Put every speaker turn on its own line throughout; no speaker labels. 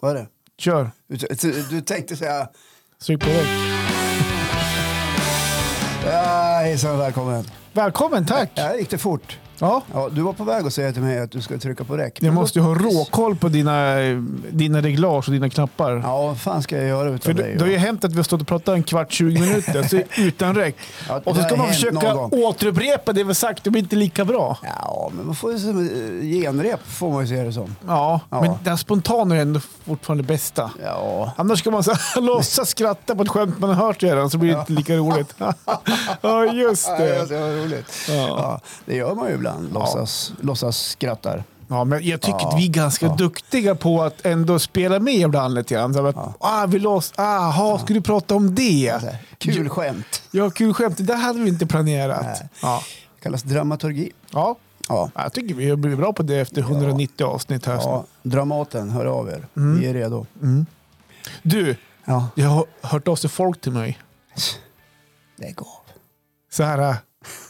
Vad är det?
Kör.
Du, du tänkte säga
Tryck på räck.
ah, hejsan och välkommen.
Välkommen, tack.
Ja, gick det fort?
Ja.
Ja, du var på väg att säga till mig att du ska trycka på räck.
Jag måste ju ha råkoll på dina, dina reglage och dina knappar.
Ja, vad fan ska jag göra utan
För det,
dig?
det har ju hänt att vi har stått och pratat en kvart, 20 minuter så utan räck.
Ja, det
och så
har
ska man
hänt
försöka
någon gång.
återupprepa det vi har sagt, det blir inte lika bra.
Ja, men man får ju som eh, genrep får man ju se det som.
Ja,
Ja.
men den spontana är ändå fortfarande det bästa.
Ja,
Annars ska man så här, låtsas skratta på ett skämt man har hört redan så blir det inte lika roligt. ja, just
Ja,
det.
det var roligt.
Ja.
Ja. det gör man ju ibland. Låtsas, låtsas skrattar.
Ja, men jag tycker
Ja.
att vi är ganska
Ja.
duktiga på att ändå spela med ibland lite grann. Så att, ah, vi lås, aha, ska du prata om det?
Så här, Kul skämt.
Ja, kul skämt. Det där hade vi inte planerat.
Nej.
Ja.
kallas dramaturgi.
Ja.
Ja.
Ja, Jag tycker vi har blivit bra på det efter 190 avsnitt här.
ja,
snart.
Dramaten, hör av er.
Mm.
Vi är redo.
Du,
Ja.
jag har hört av sig folk till mig.
Lägg av.
Så här, äh,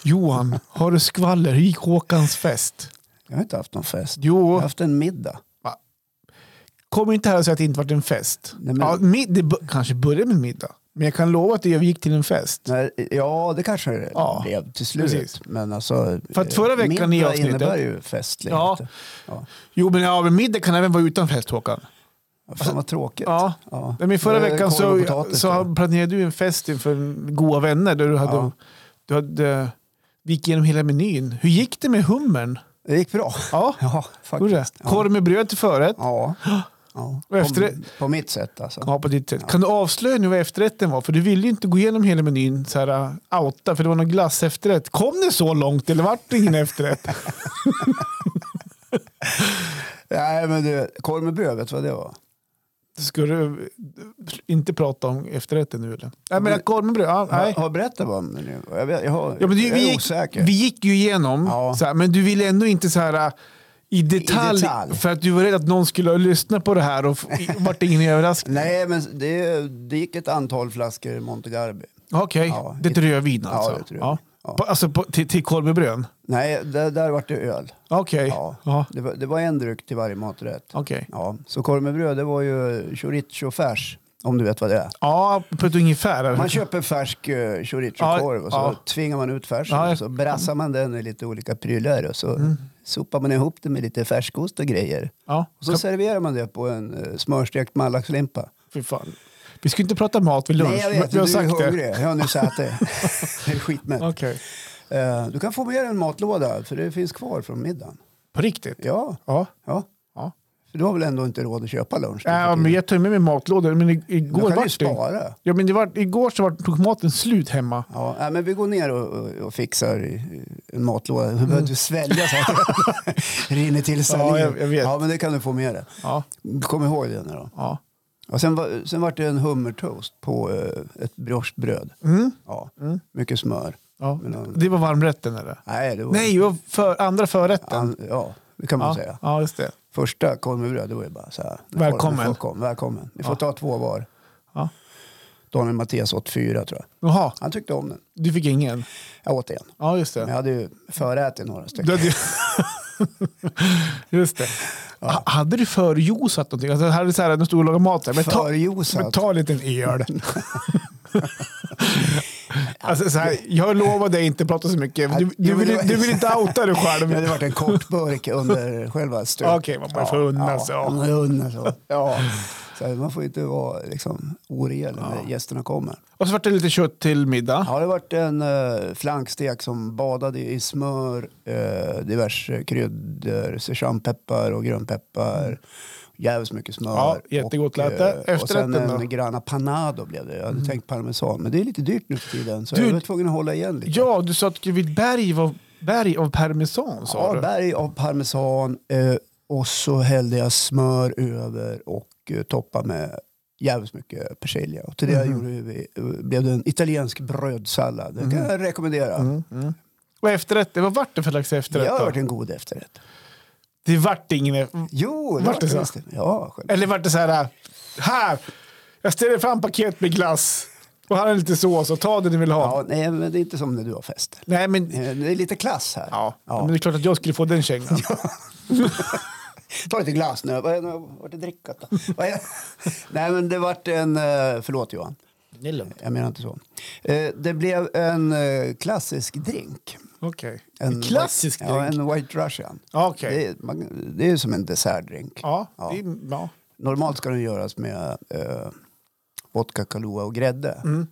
Johan, har du skvaller? Hur gick Håkans fest?
Jag har inte haft någon fest. Jag
Jo,
har haft en middag.
kom inte här och säg att det inte varit en fest.
Nej, men-
Ja, mid, det b- kanske började med middag, men jag kan lova att jag gick till en fest.
Nej, ja, det kanske det
Ja,
blev till slut.
precis.
Men alltså,
För att
eh,
förra veckan i
middag
avsnittet-
innebär ju festlighet.
Ja.
Ja.
Jo, men, ja, men middag kan även vara utan fest, Håkan.
Fan vad tråkigt.
Alltså, Ja.
Ja.
Men i förra
Eh,
veckan
korv och
så,
potatis, ja.
så planerade du en fest inför goda vänner där du hade,
Ja.
du hade vi gick igenom hela menyn. Hur gick det med hummern?
Det gick bra.
Ja,
Ja,
gjorde det.
faktiskt. Ja.
Korv med bröd till förrätt.
Ja. ja.
Och efter
på, på mitt sätt alltså.
Ja, på ditt sätt. Kan du avslöja nu vad efterrätten var? För du ville ju inte gå igenom hela menyn så här uh, outa, för det var någon glass efterrätt. Kom det så långt eller vart det ingen efterrätt?
Nej, men du, korv med bröd, vet du vad det var?
Ska du eh, inte prata om efterrätten nu eller? Nej,
men-
men korv med bröd. Ja, nej.
Har jag berättat vad men nu? Jag, vet, jag, har,
Ja, men du,
jag
vi,
är
gick,
osäker.
vi gick ju igenom,
Ja.
så här, men du ville ändå inte så här uh, i detalj,
detalj.
för att du var rädd att någon skulle lyssna på det här och f- vart det ingen överraskning.
Nej, men det, det gick ett antal flaskor Monte Garbi.
Okej,
Ja,
det är ett
i-
rödvin
Ja,
alltså?
det är ett rödvin. Ja.
På, alltså på, till, till korv med bröd?
Nej, där, där var det öl.
Okej.
Ja.
Ja.
Det, var, det var en dryck till varje maträtt.
Okej.
Ja, så korv med bröd, det var ju chorizo-färs, om du vet vad det är.
Ja, på ett ungefär. eller?
Man köper färsk eh, chorizo-korv och så
Ja, ja.
tvingar man ut färsen
Ja, Mm. ja.
och så brassar man den med lite olika prylar och så sopar man ihop det med lite färskost och grejer.
Ja.
Och så serverar man det på en eh, smörstekt mallaxlimpa.
Fy fan. Vi ska inte prata mat vid lunch.
Nej, jag
men
vet,
vi
du
har
är
sagt
hungrig.
det.
Jag har nu ätit. det är skitmätt.
Okej.
Eh, Du kan få med dig en matlåda, för det finns kvar från middagen.
På riktigt?
Ja,
Ja.
ja.
ja.
För du har väl ändå inte råd att köpa lunch? nu
ja
för
men
tiden?
jag tar ju med mig matlådor. Men i-
Då
igår
kan du ju
var det...
spara.
Ja, men det var, igår så var, tog maten slut hemma.
Ja, nej, men vi går ner och, och, och fixar i- i en matlåda. Du behöver inte svälja så att det rinner till saliv.
Ja, jag- jag vet.
Ja, men det kan du få med dig.
Ja.
Kom ihåg det nu då.
ja.
Och sen, var- sen var det en hummertoast på eh, ett briochebröd.
Mm.
Ja, mycket smör.
ja.
Men, ja.
Det var varmrätten eller?
Nej, det var...
Nej, det var för, andra förrätten.
an, ja, det kan man
Ja.
säga.
ja, just det.
Första korv med bröd, det var ju bara så här. ni får-
Välkommen.
Ni får, kom, välkommen. Ni får
Ja.
ta två var.
Ja.
Daniel Mattias åt fyra tror jag.
Jaha,
Han tyckte om den.
du fick ingen?
Jag åt en.
Ja, just
Men
det.
jag hade ju förätit några stycken.
Du hade- Just det. Ha- Hade du förjuicat någonting? Alltså, hade du så här, de stod och lagade mat där. Men ta,
Förjuicat?
Men ta en liten öl. alltså, så här, jag lovar dig inte att prata så mycket. Du, du,
Jo, men
vill,
det var-
du vill inte outa dig
Det
själv.
hade varit en kort burk under själva stöten.
Okej, man får unna sig.
Ja, man får unna sig. Ja. Så här, man får inte vara liksom, oredig när gästerna kommer.
Och så vart det lite kött till middag.
Ja, det har varit en eh, flankstek som badade i smör, eh, diverse kryddor, szechuanpeppar och grönpeppar. Jävligt mycket smör.
Ja, jättegott lät det.
eh, Och sen
Efterrätten då? Mm.
en grana panado blev det. Jag hade tänkt parmesan, men det är lite dyrt nu för tiden. Så
Du-
jag var tvungen att hålla igen lite.
Ja, du sa att du vill berg av, berg av parmesan. Sa
Ja,
du.
berg av parmesan eh, och så hällde jag smör över och eh, toppade med jävligt mycket persilja. Och till det
Mhm.
gjorde vi, eh, blev det en italiensk brödsallad. Det
Mhm.
kan jag rekommendera.
Och efterrätt, vad vart det för slags
Det
efterrätt?
har
då?
varit en god efterrätt.
Det vart ingen... e-
Jo, det
Vart
var
det så?
visst det. Ja, själv.
Eller vart det så här, här, jag ställer fram paket med glass och här är lite sås och ta det ni vill ha.
ja, nej, men det är inte som när du har fest.
Nej, men,
Eh, Det är lite klass här.
ja.
Ja.
men det är klart att jag skulle få den kängan.
Ta lite glass nu. Vad är det, vart det drickat då? Vad är, nej men det vart en, eh, förlåt Johan,
Det är lugnt.
jag menar inte så. Eh, Det blev en eh, klassisk drink.
Okej.
En
klassisk
white, Ja,
drink?
en white russian.
Okej.
Det, är, man, det är som en dessertdrink.
Ja,
Ja.
det är- ja.
Normalt ska den göras med eh, vodka, Kahlua och grädde.
Mm.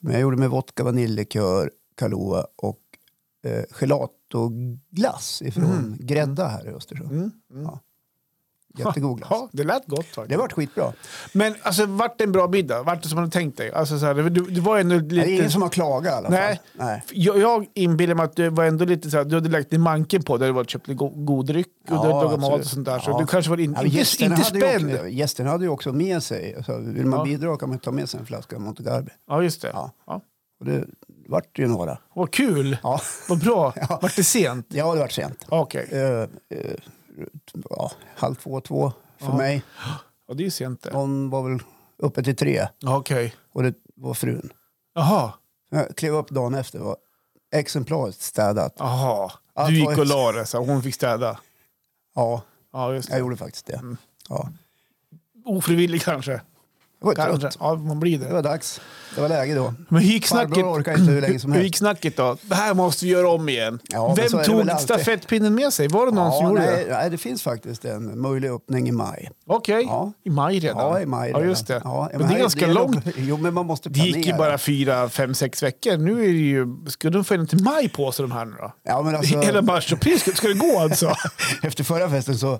Men jag gjorde med vodka, vaniljlikör, Kahlua och eh, gelatoglass ifrån
Mm.
grädda här i Östersund. Ja. Jättegod glass.
ja, det lät gott faktiskt.
Det vart skitbra.
Men alltså, vart det en bra middag? Vart det som man hade tänkt dig? Alltså, så här, du, du var ändå lite...
Det är ingen som har klagat i alla fall.
Nej.
Nej.
Jag, jag inbillar mig att du var ändå lite så här, du hade lagt i manken på där du hade köpt lite go- god dryck och
Ja,
du hade lagat mat
absolut.
och sånt där. Så
Ja.
du kanske var in,
Ja, men
inte,
gästerna
inte
hade ju
spänd.
också- Gästerna hade ju också med sig, alltså, vill man
Ja.
bidra kan man ta med sig en flaska Monte Garbi.
Ja, just det. Ja.
Ja. Och det vart ju några.
Vad kul!
Ja,
Vad bra!
Ja.
Vart det sent?
ja det vart sent.
Okej.
Eh, eh, ja, halv två, två för
Ja.
mig.
Ja, det är ju sent det.
Hon var väl uppe till tre
Ja, Okej.
och det var frun.
Jaha.
Jag klev upp dagen efter och var exemplariskt städat.
Jaha.
Ja,
Du
det
gick
var
och
ett-
la det, så hon fick städa.
Ja,
Ja, just
jag
det.
gjorde faktiskt det.
Mm.
Ja.
Ofrivillig kanske.
Jag var
kanske.
trött.
Ja, man blir
Det
det.
var dags. Det var läge då.
Men hur gick snacket?
Farbror orkar inte hur länge som
Hur
helst.
gick snacket då? Det här måste vi göra om igen.
Ja, men så är
Vem
det
tog
väl alltid.
stafettpinnen med sig? Var det någon som
Ja,
gjorde
nej,
det?
nej, det finns faktiskt en möjlig öppning i maj.
Okej,
Ja.
i maj redan.
Ja, i maj.
Ja,
redan.
just det.
Ja,
men det är
här-
ganska långt.
Jo, men man måste
Det
planera.
gick ju bara fyra, fem, sex veckor. Nu är det ju... Ska de få in till maj på sig de här nu då?
Ja, men alltså,
Hela mars och april, ska, ska det gå alltså?
efter förra festen så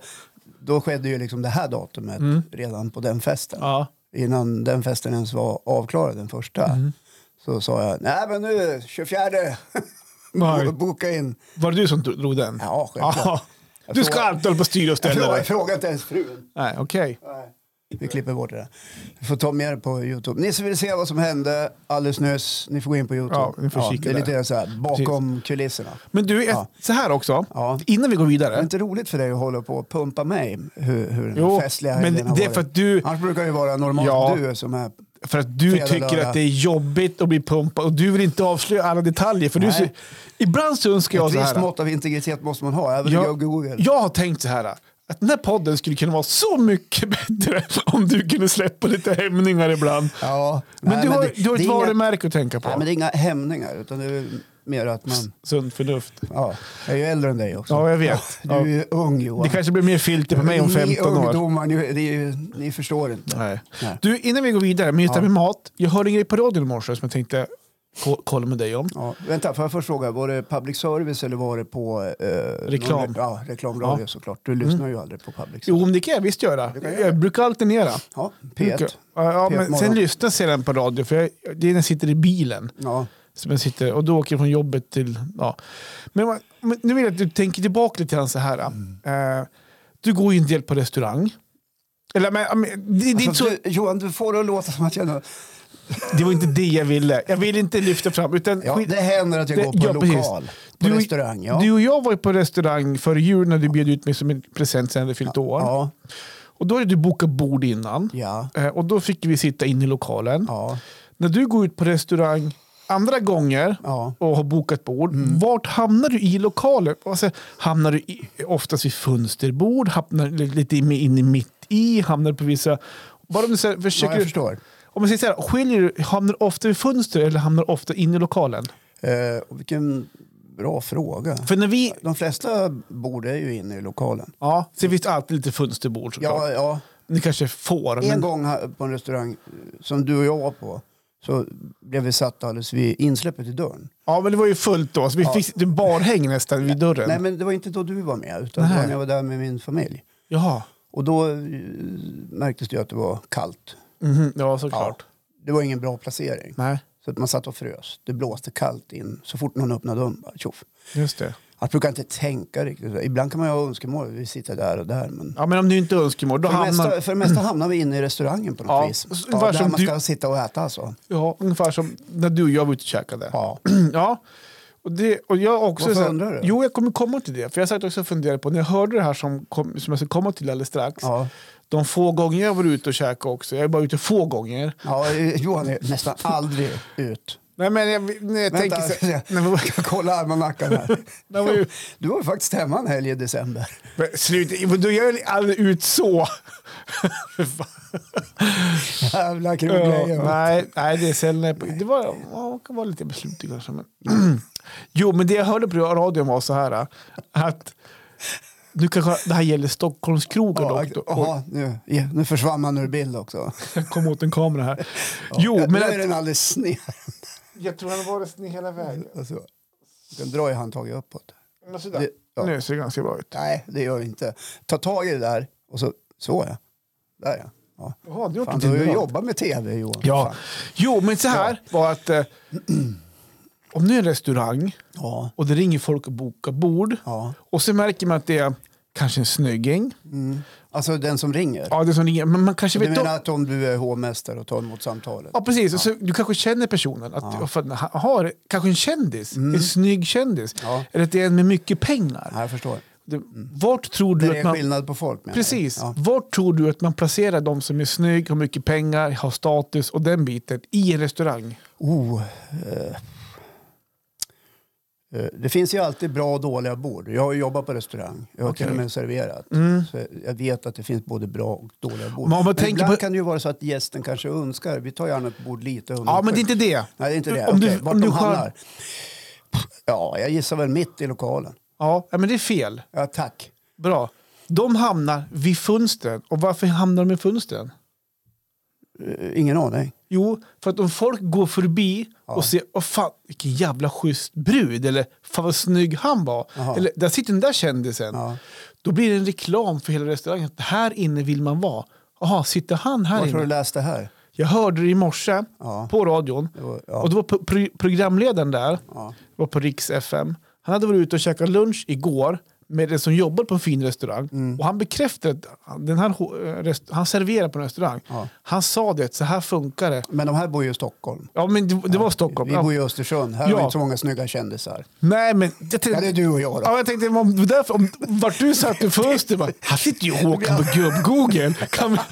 då skedde ju liksom det här datumet
Mm.
redan på den festen.
ja.
Innan den festen ens var avklarad, den första,
Mm.
så sa jag nej men nu 24
Nej.
bo- boka in.
Var det du som drog den?
Ja, självklart.
Ja.
Jag
Du
frågar-
ska alltid hålla på och styra och
Jag
ställa.
frågade,
dig.
jag frågade inte ens frun.
Nej, okej.
Nej. Vi klipper bort det där. Vi får ta med det på Youtube. Ni som vill se vad som hände alldeles nyss, ni får gå in på Youtube.
Ja, ni får kika
det är
där.
lite så här bakom kulisserna.
Men du, ett-
Ja.
så här också.
Ja.
Innan vi går vidare.
Det är inte roligt för dig att hålla på och pumpa mig hur, hur den
Jo,
festliga
men
helgen har
det är
varit.
för att du-
Annars brukar det ju vara normalt
Ja.
du som är...
För att du
Fredag,
tycker
lördag.
att det är jobbigt att bli pumpad och du vill inte avslöja alla detaljer. För du,
Nej.
ser- ibland så önskar jag
Ett
så
visst
här.
mått av integritet måste man ha, även jag, Google.
Jag, jag har tänkt så här. Att den här podden skulle kunna vara så mycket bättre om du kunde släppa lite hämningar ibland.
Ja.
Men
Nej,
du har,
det-
du har
det
ett
är inga-
varumärke att tänka på.
Nej, men det är inga hämningar, utan det är väl mer att man...
Sunt förnuft.
Ja, jag är ju äldre än dig också.
Ja, jag vet.
Du är ju ung Johan.
Det kanske blir mer filter på mig om 15
Ni
år.
ungdomar, ni, det är ju, ni förstår inte.
Nej.
Nej.
Du, innan vi går vidare, men just det här med mat. Jag hörde en grej på radion i morse som jag tänkte ko- kolla med dig om.
Ja, vänta, får jag först fråga, var det public service eller var det på... Eh,
Reklam.
någon- ja, reklamradio
Ja. Mm.
såklart. Du lyssnar ju aldrig på public
Jo,
service.
men det kan jag visst göra. Jag brukar alternera.
Ja,
Ja,
P1.
ja,
P1
men sen
morgon.
lyssnar jag sedan på radio, för jag, det är när jag sitter i bilen.
Ja.
Som jag sitter, och då åker jag från jobbet till... Ja. Men, man- men nu vill jag att du tänker tillbaka lite grann så här.
Mm.
Eh, du går ju en del på restaurang. Eller, men, men, det, det, är inte
Alltså,
så,
du, Johan, du får det att låta som att jag...
det var inte det jag ville. Jag vill inte lyfta fram. Utan,
Ja,
skit-
det händer att jag
Det-
går på
ja, precis.
lokal. På
Du-
restaurang, ja.
Du och jag var ju på restaurang före jul när du bjöd ut mig som en present sen jag hade fyllt år.
ja,
Och då hade du bokat bord innan.
ja,
Eh, och då fick vi sitta in i lokalen.
ja,
När du går ut på restaurang andra gånger
ja.
och har bokat bord,
Mm.
vart hamnar du i lokalen? Alltså, hamnar du i, oftast vid fönsterbord? Hamnar du lite in, in i mitt i? Hamnar du på vissa... Bara om du så här,
ja
försöker...
jag förstår.
om man säger så här, skiljer du, hamnar du ofta vid fönster eller hamnar du ofta in i lokalen?
Eh, och vilken bra fråga.
För när vi...
De flesta bor är ju inne i lokalen.
Ja, sen finns det alltid lite fönsterbord såklart.
Ja, ja.
Ni kanske får,
En
men...
gång här på en restaurang eh, som du och jag var på så blev vi satta alldeles vid insläppet i dörren.
Ja, men det var ju fullt då. Så vi fick det är barhäng nästan vid dörren.
Nej, men det var inte då du var med, utan det
Nej.
var när jag var där med min familj.
Jaha.
Och då eh, märktes det ju att det var kallt.
Mhm, ja, såklart.
Det var ingen bra placering.
Nej,
Så att man satt och frös. Det blåste kallt in. Så fort någon öppnade dörren, bara tjoff.
just det.
Jag brukar inte tänka riktigt. Ibland kan man ju ha önskemål. Vi sitter där och där. Men
Ja, men om du inte har önskemål, då
för, det
hamnar...
mesta, för det mesta hamnar vi inne i restaurangen på något
Ja,
vis.
s-
Ja,
var
där
som
man
du-
ska sitta och äta alltså.
Ja, ungefär som när du och jag var ute och käkade.
Ja.
Ja. Och det, och jag också,
Varför
så här-
undrar du?
Jo, jag kommer komma till det. För jag satt också och funderade på, när jag hörde det här som, kom, som jag ska komma till alldeles strax,
Ja.
de få gånger jag var ute och käkade också, jag är bara ute få gånger,
Ja, Johan är nästan aldrig ut.
Nej, men jag, nej, jag tänker
Vänta,
så här-
jag ska kolla almanackan här.
Det var ju-
Du var ju faktiskt hemma en helg i december.
Men Sluta, du gör väl aldrig ut så?
Jävla kul
Ja,
grej. va?
nej, nej, det är sällan. Det var, ja, det kan vara lite beslutig kanske. Men. jo, men det jag hörde på radion var så här att nu kanske det här gäller Stockholmskrogar
Ja,
dock. Och,
Jaha, nu, ja, nu försvann man ur bild också.
kom åt en kamera här. Jo,
Ja,
men
nu är
att,
den alldeles sned.
jag tror han har varit sned hela vägen.
Alltså, du kan dra i handtaget uppåt.
Men sådär.
Det- ja.
Nu ser det ganska bra ut.
Nej, det gör du inte. Ta tag i det där och så, så ja. Där ja. ja.
Jaha, det
Fan,
åkte
du har ju
bra.
jobbat med tv Johan.
Ja.
Fan.
Jo, men så här var att eh, om nu är en restaurang
Ja.
och det ringer folk och bokar bord
ja.
och så märker man att det är kanske en snygging.
Alltså den som ringer.
Ja, det är som ringer, men man kanske
Du
vet om...
menar att om du är hovmästare och tar emot samtalet?
Ja, precis. Och Så du kanske känner personen. Att, fan, han har kanske en kändis, en snygg kändis.
Mm. Ja.
Eller att det är en med mycket pengar.
Ja, jag förstår.
Det, vart tror du
Det
att
är
man...
skillnad på folk menar du?
Precis.
Ja.
Vart tror du att man placerar de som är snygg, har mycket pengar, har status och den biten i en restaurang?
Oh, eh, eh, det finns ju alltid bra och dåliga bord. Jag har ju jobbat på restaurang. Jag har
Okej. Mm.
till och med serverat. Så jag vet att det finns både bra och dåliga bord.
Men om man
Men
tänker
ibland
på-
kan det ju vara så att gästen kanske önskar. Vi tar gärna ett bord lite under.
Ja, men det är inte det.
Nej, det är inte det.
Om du-
Okej, vart
om
de
du skär-
hamnar. Ja, jag gissar väl mitt i lokalen.
Ja, ja, men det är fel.
Ja, tack.
Bra. De hamnar vid fönstren. Och varför hamnar de i fönstren?
Eh, Ingen aning.
Jo, för att om folk går förbi och ser åh fan, vilken jävla schysst brud eller fan vad snygg han var.
Jaha.
Eller där sitter den där kändisen.
Ja.
Då blir det en reklam för hela restaurangen. att Här inne vill man vara. Jaha, sitter han här
Vart har
inne?
du läst det här?
Jag hörde det i morse
Ja.
på radion.
Det var- ja.
Och då var pro- pro- programledaren där,
Ja.
var på Riks FM. Han hade varit ute och käkat lunch igår med den som jobbar på en fin restaurang.
Mm.
Och han bekräftade att han- den här, ho- rest- han serverar på en restaurang.
Ja.
Han sa det, så här funkar det.
Men de här bor ju i Stockholm.
Ja, men det, det var Stockholm.
Vi
Ja.
bor ju i Östersund. Här
Ja.
har vi inte så många snygga kändisar.
Nej, men jag tänkte,
Ja, det är du och jag då.
Ja, jag tänkte, om, det var därför, om, vart du satt i fönstret, bara, här sitter ju Håkan på gubb-Google. Kan vi,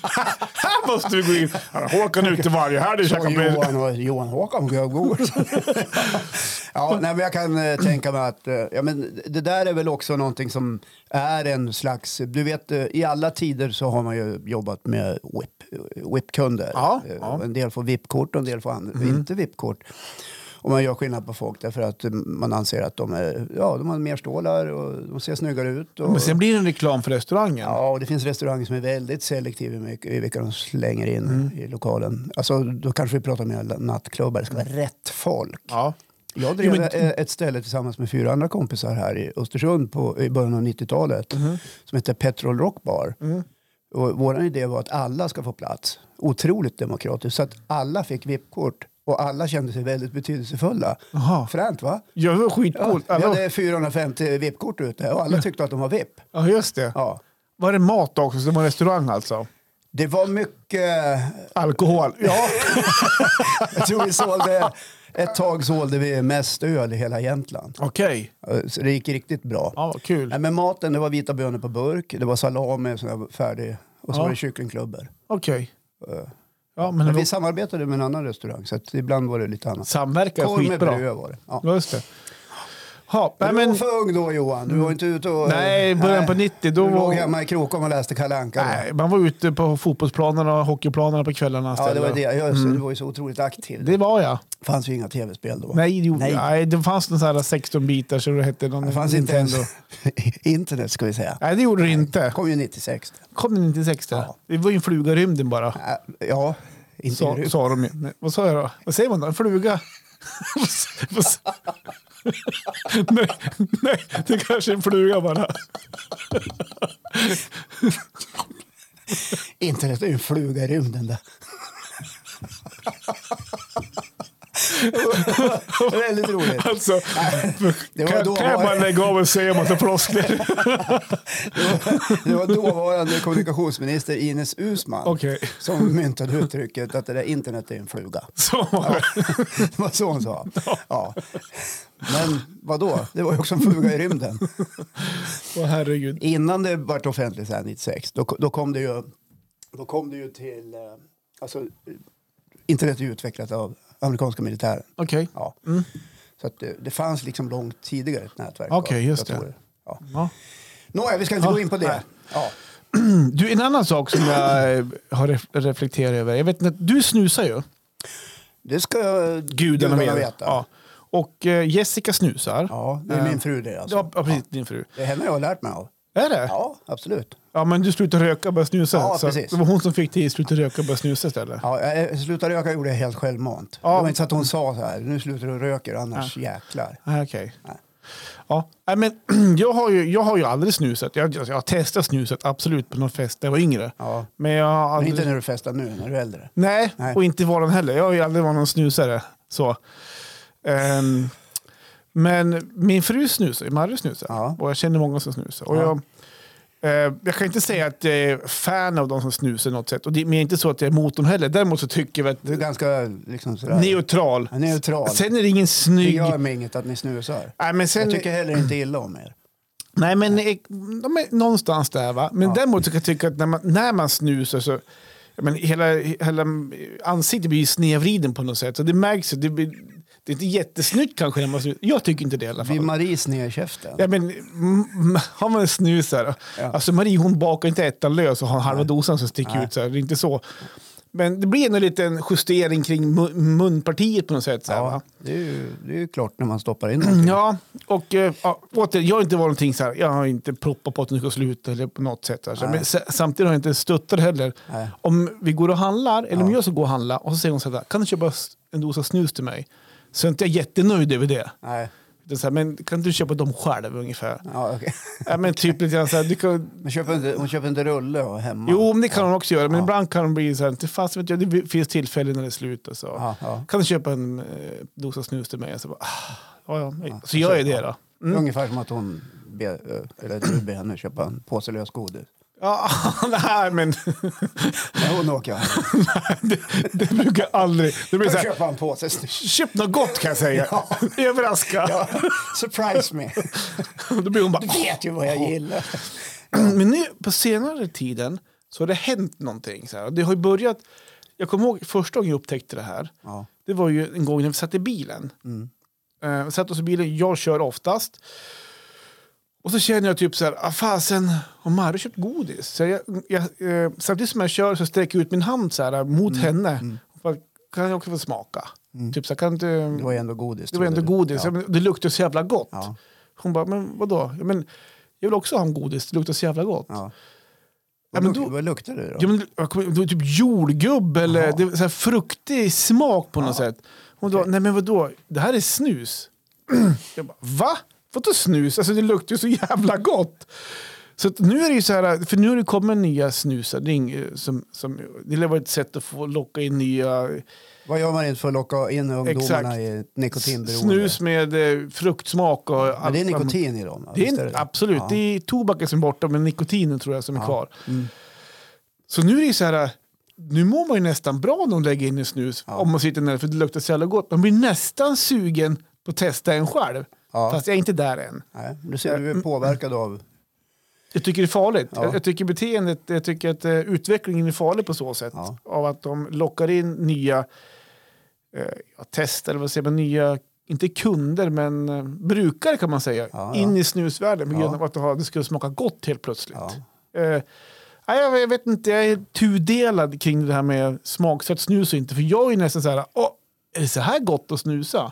här måste vi gå in. Ja, Håkan är ute varje helg och
Och
käkar med.
Johan, och Johan Håkan Gubb ja, nej, men Jag kan eh, tänka mig att eh, ja, men det där är väl också någonting som är en slags... Du vet, eh, i alla tider så har man ju jobbat med whip, whip-kunder.
Ja,
Eh,
ja. Mm.
En del får VIP-kort och en del får andra, inte VIP-kort. Och man gör skillnad på folk därför att eh, man anser att de, är, ja, de har mer stålar och de ser snyggare ut. Och,
Men sen blir det en reklam för restaurangen.
Ja, och det finns restauranger som är väldigt selektiva i mycket- i vilka de slänger in
Mm.
i lokalen. Alltså, då kanske vi pratar mer nattklubbar. Det ska vara rätt folk.
Ja.
Jag drev
Jo, men-
e- ett ställe tillsammans med fyra andra kompisar här i Östersund på, i början av 90-talet
Mm.
som hette Petrol Rock Bar. Och vår idé var att alla ska få plats. Otroligt demokratiskt. Så att alla fick VIP-kort och alla kände sig väldigt betydelsefulla.
Jaha. Alltså-
Fränt va?
Ja, det var
Ja,
skitcoolt.
vi
Ja,
hade 450 VIP-kort ute och alla tyckte att de var VIP.
ja, just det.
Ja.
Var det mat också? Så det var en restaurang alltså?
Det var mycket
Alkohol? Ja.
Jag tror vi sålde, ett tag sålde vi mest öl i hela Jämtland.
Okej.
Så det gick riktigt bra.
Ja, vad kul.
Nej, men maten, det var vita bönor på burk, det var salami som var färdig och så
Ja.
var det kycklingklubbor.
Okej.
Eh,
Ja, men
Men
det
vi
var
samarbetade med en annan restaurang så att ibland var det lite annat.
samverkan
Korv med
skitbra.
bröd var det. Ja.
Ja, just det. Ja, nej,
Men du var
men,
för ung då Johan, du var inte ute och...
nej, början på 90 då
Du låg
var...
hemma i Krokom och läste Kalle Anka. då.
Nej, man var ute på fotbollsplanerna och hockeyplanerna på kvällarna
Ja, det var
istället.
det. Jag, Du var ju så otroligt aktiv. Det
Mm. Det var jag.
fanns ju inga tv-spel då.
Nej, det, gjorde-
Nej.
nej, det fanns någon sån här 16-bitar så det hette någon
Det fanns inte ens internet ska vi säga.
Nej, det gjorde det inte.
Det kom ju 96.
Kom den inte i 16?
Ja.
Det var ju en fluga i rymden bara.
Äh, Ja, inte
Sa,
du.
sa de ju. Nej, Vad sa jag då? Vad säger man då? En fluga? Vad s- nej, nej, det kanske är en fluga bara.
Internet är ju en fluga i rymden. Där. Väldigt roligt.
Alltså,
det var
kan,
då
kan jag
var-
bara lägga av och säga en massa floskler?
Det var dåvarande kommunikationsminister Ines Uusmann
Okej.
som myntade uttrycket att det där internet är en fluga.
Så var det.
Det var så hon sa. Ja. Men vadå, det var ju också en fluga i rymden.
Åh, herregud.
Innan det vart offentligt så här 96, då, då kom det ju, då kom det ju till... eh, Alltså, internet är ju utvecklat av amerikanska militären.
Okej.
Ja.
Mm.
Så att det, det fanns liksom långt tidigare ett nätverk
Okej,
av
just det.
datorer. Ja.
Ja.
Nåja, vi ska inte
Ja,
gå in på
nej.
det. Ja.
Du, en annan sak som jag eh, har ref- reflekterat över. Jag vet inte, du snusar ju.
Det ska eh, gudarna, veta.
Ja. Och eh, Jessica snusar. Ja,
Ja, det är
Eh,
min fru det alltså.
ja precis. Eh. Din fru.
Det är henne jag har lärt mig av.
Är det? Ja.
Ja, absolut.
men du slutade röka och började snusa.
Ja,
så
precis.
Det var hon som fick dig att sluta röka och börja snusa istället.
Ja, jag- jag slutade röka gjorde jag helt självmant.
Ja.
Det var inte så att hon sa så här, nu slutar du röka annars jäklar.
Ah, Okej.
Nej.
Ja, nej, men jag har ju, jag har ju aldrig snusat. Jag, jag har testat snuset absolut på någon fest när jag var yngre.
Ja.
Men jag har
Men
aldrig...
inte när du festar nu, när du är äldre.
Nej,
Nej.
och inte var den heller. Jag har ju aldrig varit någon snusare. Så. Ehm, men min fru snusar, ju, Marre snusar.
Ja.
Och jag känner många som snusar. Och
Ja.
jag, eh, jag kan inte säga att jag är fan av de som snusar något sätt. Och det, men jag är inte så att jag är emot dem heller. Däremot så tycker jag att
Du är ganska liksom sådär...
neutral.
Ja, neutral.
Sen är det ingen
Det
snygg...
gör mig inget att ni snusar.
Nej, men sen,
Jag tycker heller inte illa om er.
Nej, men eh, de är någonstans där. Va? Men
Ja.
däremot så kan jag tycka att när man, när man snusar så... ja, Men hela, hela ansiktet blir ju snedvriden på något sätt. Så det märks ju. Det, blir, det är inte jättesnyggt kanske när man snusar. Jag tycker inte det i alla
Blir
fall.
Marie sned i käften?
Ja, men, mm, mm, har man en snus här.
Ja.
Alltså Marie hon bakar inte ettan lös och har halva dosan som sticker
Nej.
ut. Så här. Det är inte så. Men det blir ändå en liten justering kring mu- munpartiet på något sätt. Så här, va?
Ja, det, är ju, det är ju klart när man stoppar in någonting.
Mm, Ja, och äh, återigen, jag har inte varit någonting så här, jag har inte proppat på att nu ska sluta eller på något sätt. Alltså.
Nej.
Men s- samtidigt har jag inte stöttat heller.
Nej.
Om vi går och handlar, eller om
Ja.
jag ska gå och handla, och så säger hon så här, kan du köpa s- en dosa snus till mig? Så är inte jag jättenöjd över det.
Nej,
det är så här, men kan du köpa dem själv ungefär?
ja, okej.
ja, men typ lite grann så här, du kan,
Men köper inte, hon köper inte rulle och hemma?
jo, men det kan hon också göra, men
Ja.
ibland kan hon bli så här, inte fast vet jag, det finns tillfällen när det är slut. Och så.
Ja, ja.
Kan du köpa en eh, dosa snus till mig? Och Så, bara, ah, ja, ja. så gör jag det då.
Ungefär som att hon ber, eller du ber henne köpa en påse lösgodis.
Ja, nej men
Nej, hon åker jag.
det, det brukar jag aldrig... Det blir så
Kan
här,
köpa en påse snus?
köp något gott kan jag säga. Överraska.
Ja, surprise me.
Då blir hon bara...
Du vet ju vad jag gillar.
Men nu på senare tiden så har det hänt någonting. Så här. Och Det har ju börjat... Jag kommer ihåg första gången jag upptäckte det här.
Ja,
Det var ju en gång när vi satt i bilen.
Mm.
Eh, vi satt oss i bilen, jag kör oftast. Och så känner jag typ så här, ah, fasen, har Marre köpt godis? Så jag, jag, eh, samtidigt som jag kör så sträcker jag ut min hand så här, mot
Mm.
henne. Och bara, kan jag också få smaka? Typ så här, kan inte,
det var ju ändå godis.
det var ändå
trodde du.
godis,
Ja.
Men det luktar så jävla gott.
Ja.
Hon bara, men vadå? Ja, men, jag vill också ha en godis, det luktar så jävla gott.
Ja.
Ja,
Vad,
men
luk-
då-
vad luktar det då?
Ja, men, jag kommer- det var typ jordgubb eller
Jaha.
det var så här fruktig smak på något sätt. Hon bara, nej men vadå, det här är snus. jag bara, va? Vadå snus? Alltså det luktar ju så jävla gott. Så att nu är det ju så här, för nu har det kommit nya snusar. Det, är ing- som, som, det lär vara ett sätt att få locka in nya
Vad gör man inte för att locka in ungdomarna
Exakt.
i ett nikotinberoende?
snus med eh, fruktsmak. Och
Men det är
allt-
nikotin i dem? va?
Det är,
Visst
en- Absolut,
Ja.
det är tobaken som är borta men nikotinen tror jag som är
Ja.
kvar.
Mm.
Så nu är det ju så här, nu mår man ju nästan bra när de lägger in en snus
Ja.
om man sitter ner för det luktar så jävla gott. Man blir nästan sugen på att testa en själv.
Ja.
Fast Mm. jag är inte där än.
Nej, du ser, du är påverkad av...
Jag tycker det är farligt.
Ja.
Jag, jag tycker beteendet, jag tycker att eh, utvecklingen är farlig på så sätt.
Ja.
Av att de lockar in nya eh, ja, tester, eller vad säger man, nya, inte kunder men eh, brukare kan man säga,
Ja, ja.
in i snusvärlden på grund
Ja.
av att det har- det skulle smaka gott helt plötsligt.
Ja.
Eh, nej, jag, jag vet inte, jag är tudelad kring det här med smaksatt snus och inte. För jag är ju nästan så här, Åh, är det så här gott att snusa?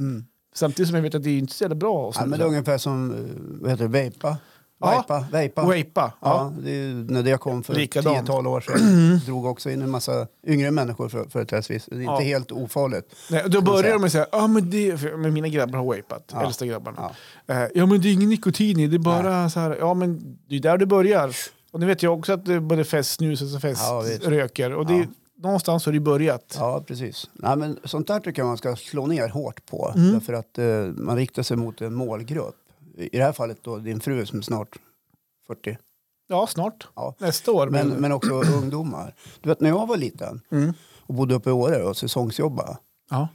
Samtidigt som jag vet att det är inte så jävla bra att
Ja,
snusa.
Mm. men det är ungefär som, eh, vad heter det, vejpa?
Ja.
Vejpa, vejpa.
Wapa, ja.
Ja, det är, ju- när det kom för
Likadant.
tiotal år sedan drog också in en massa yngre människor för, företrädesvis. Det är inte
Ja.
helt ofarligt.
Nej, och då
man
börjar
säga.
de med säga, ah, men det, för, men mina grabbar har wapat,
Ja.
äldsta grabbarna. Ja. ja men det är ingen nikotin i, det är bara så här, ja men det är där det börjar. Och nu vet jag också att det är både festsnusas och
Ja, visst.
feströker. och det,
Ja.
någonstans har det ju börjat.
Ja, precis. Nej, men sånt där tycker jag man ska slå ner hårt på.
Mm.
Därför att eh, man riktar sig mot en målgrupp. I i det här fallet då din fru som är snart 40.
Ja, snart.
Ja.
Nästa år.
Men, mm.
blir det.
men också ungdomar. Du vet när jag var liten och bodde uppe i Åre och säsongsjobbade.
ja.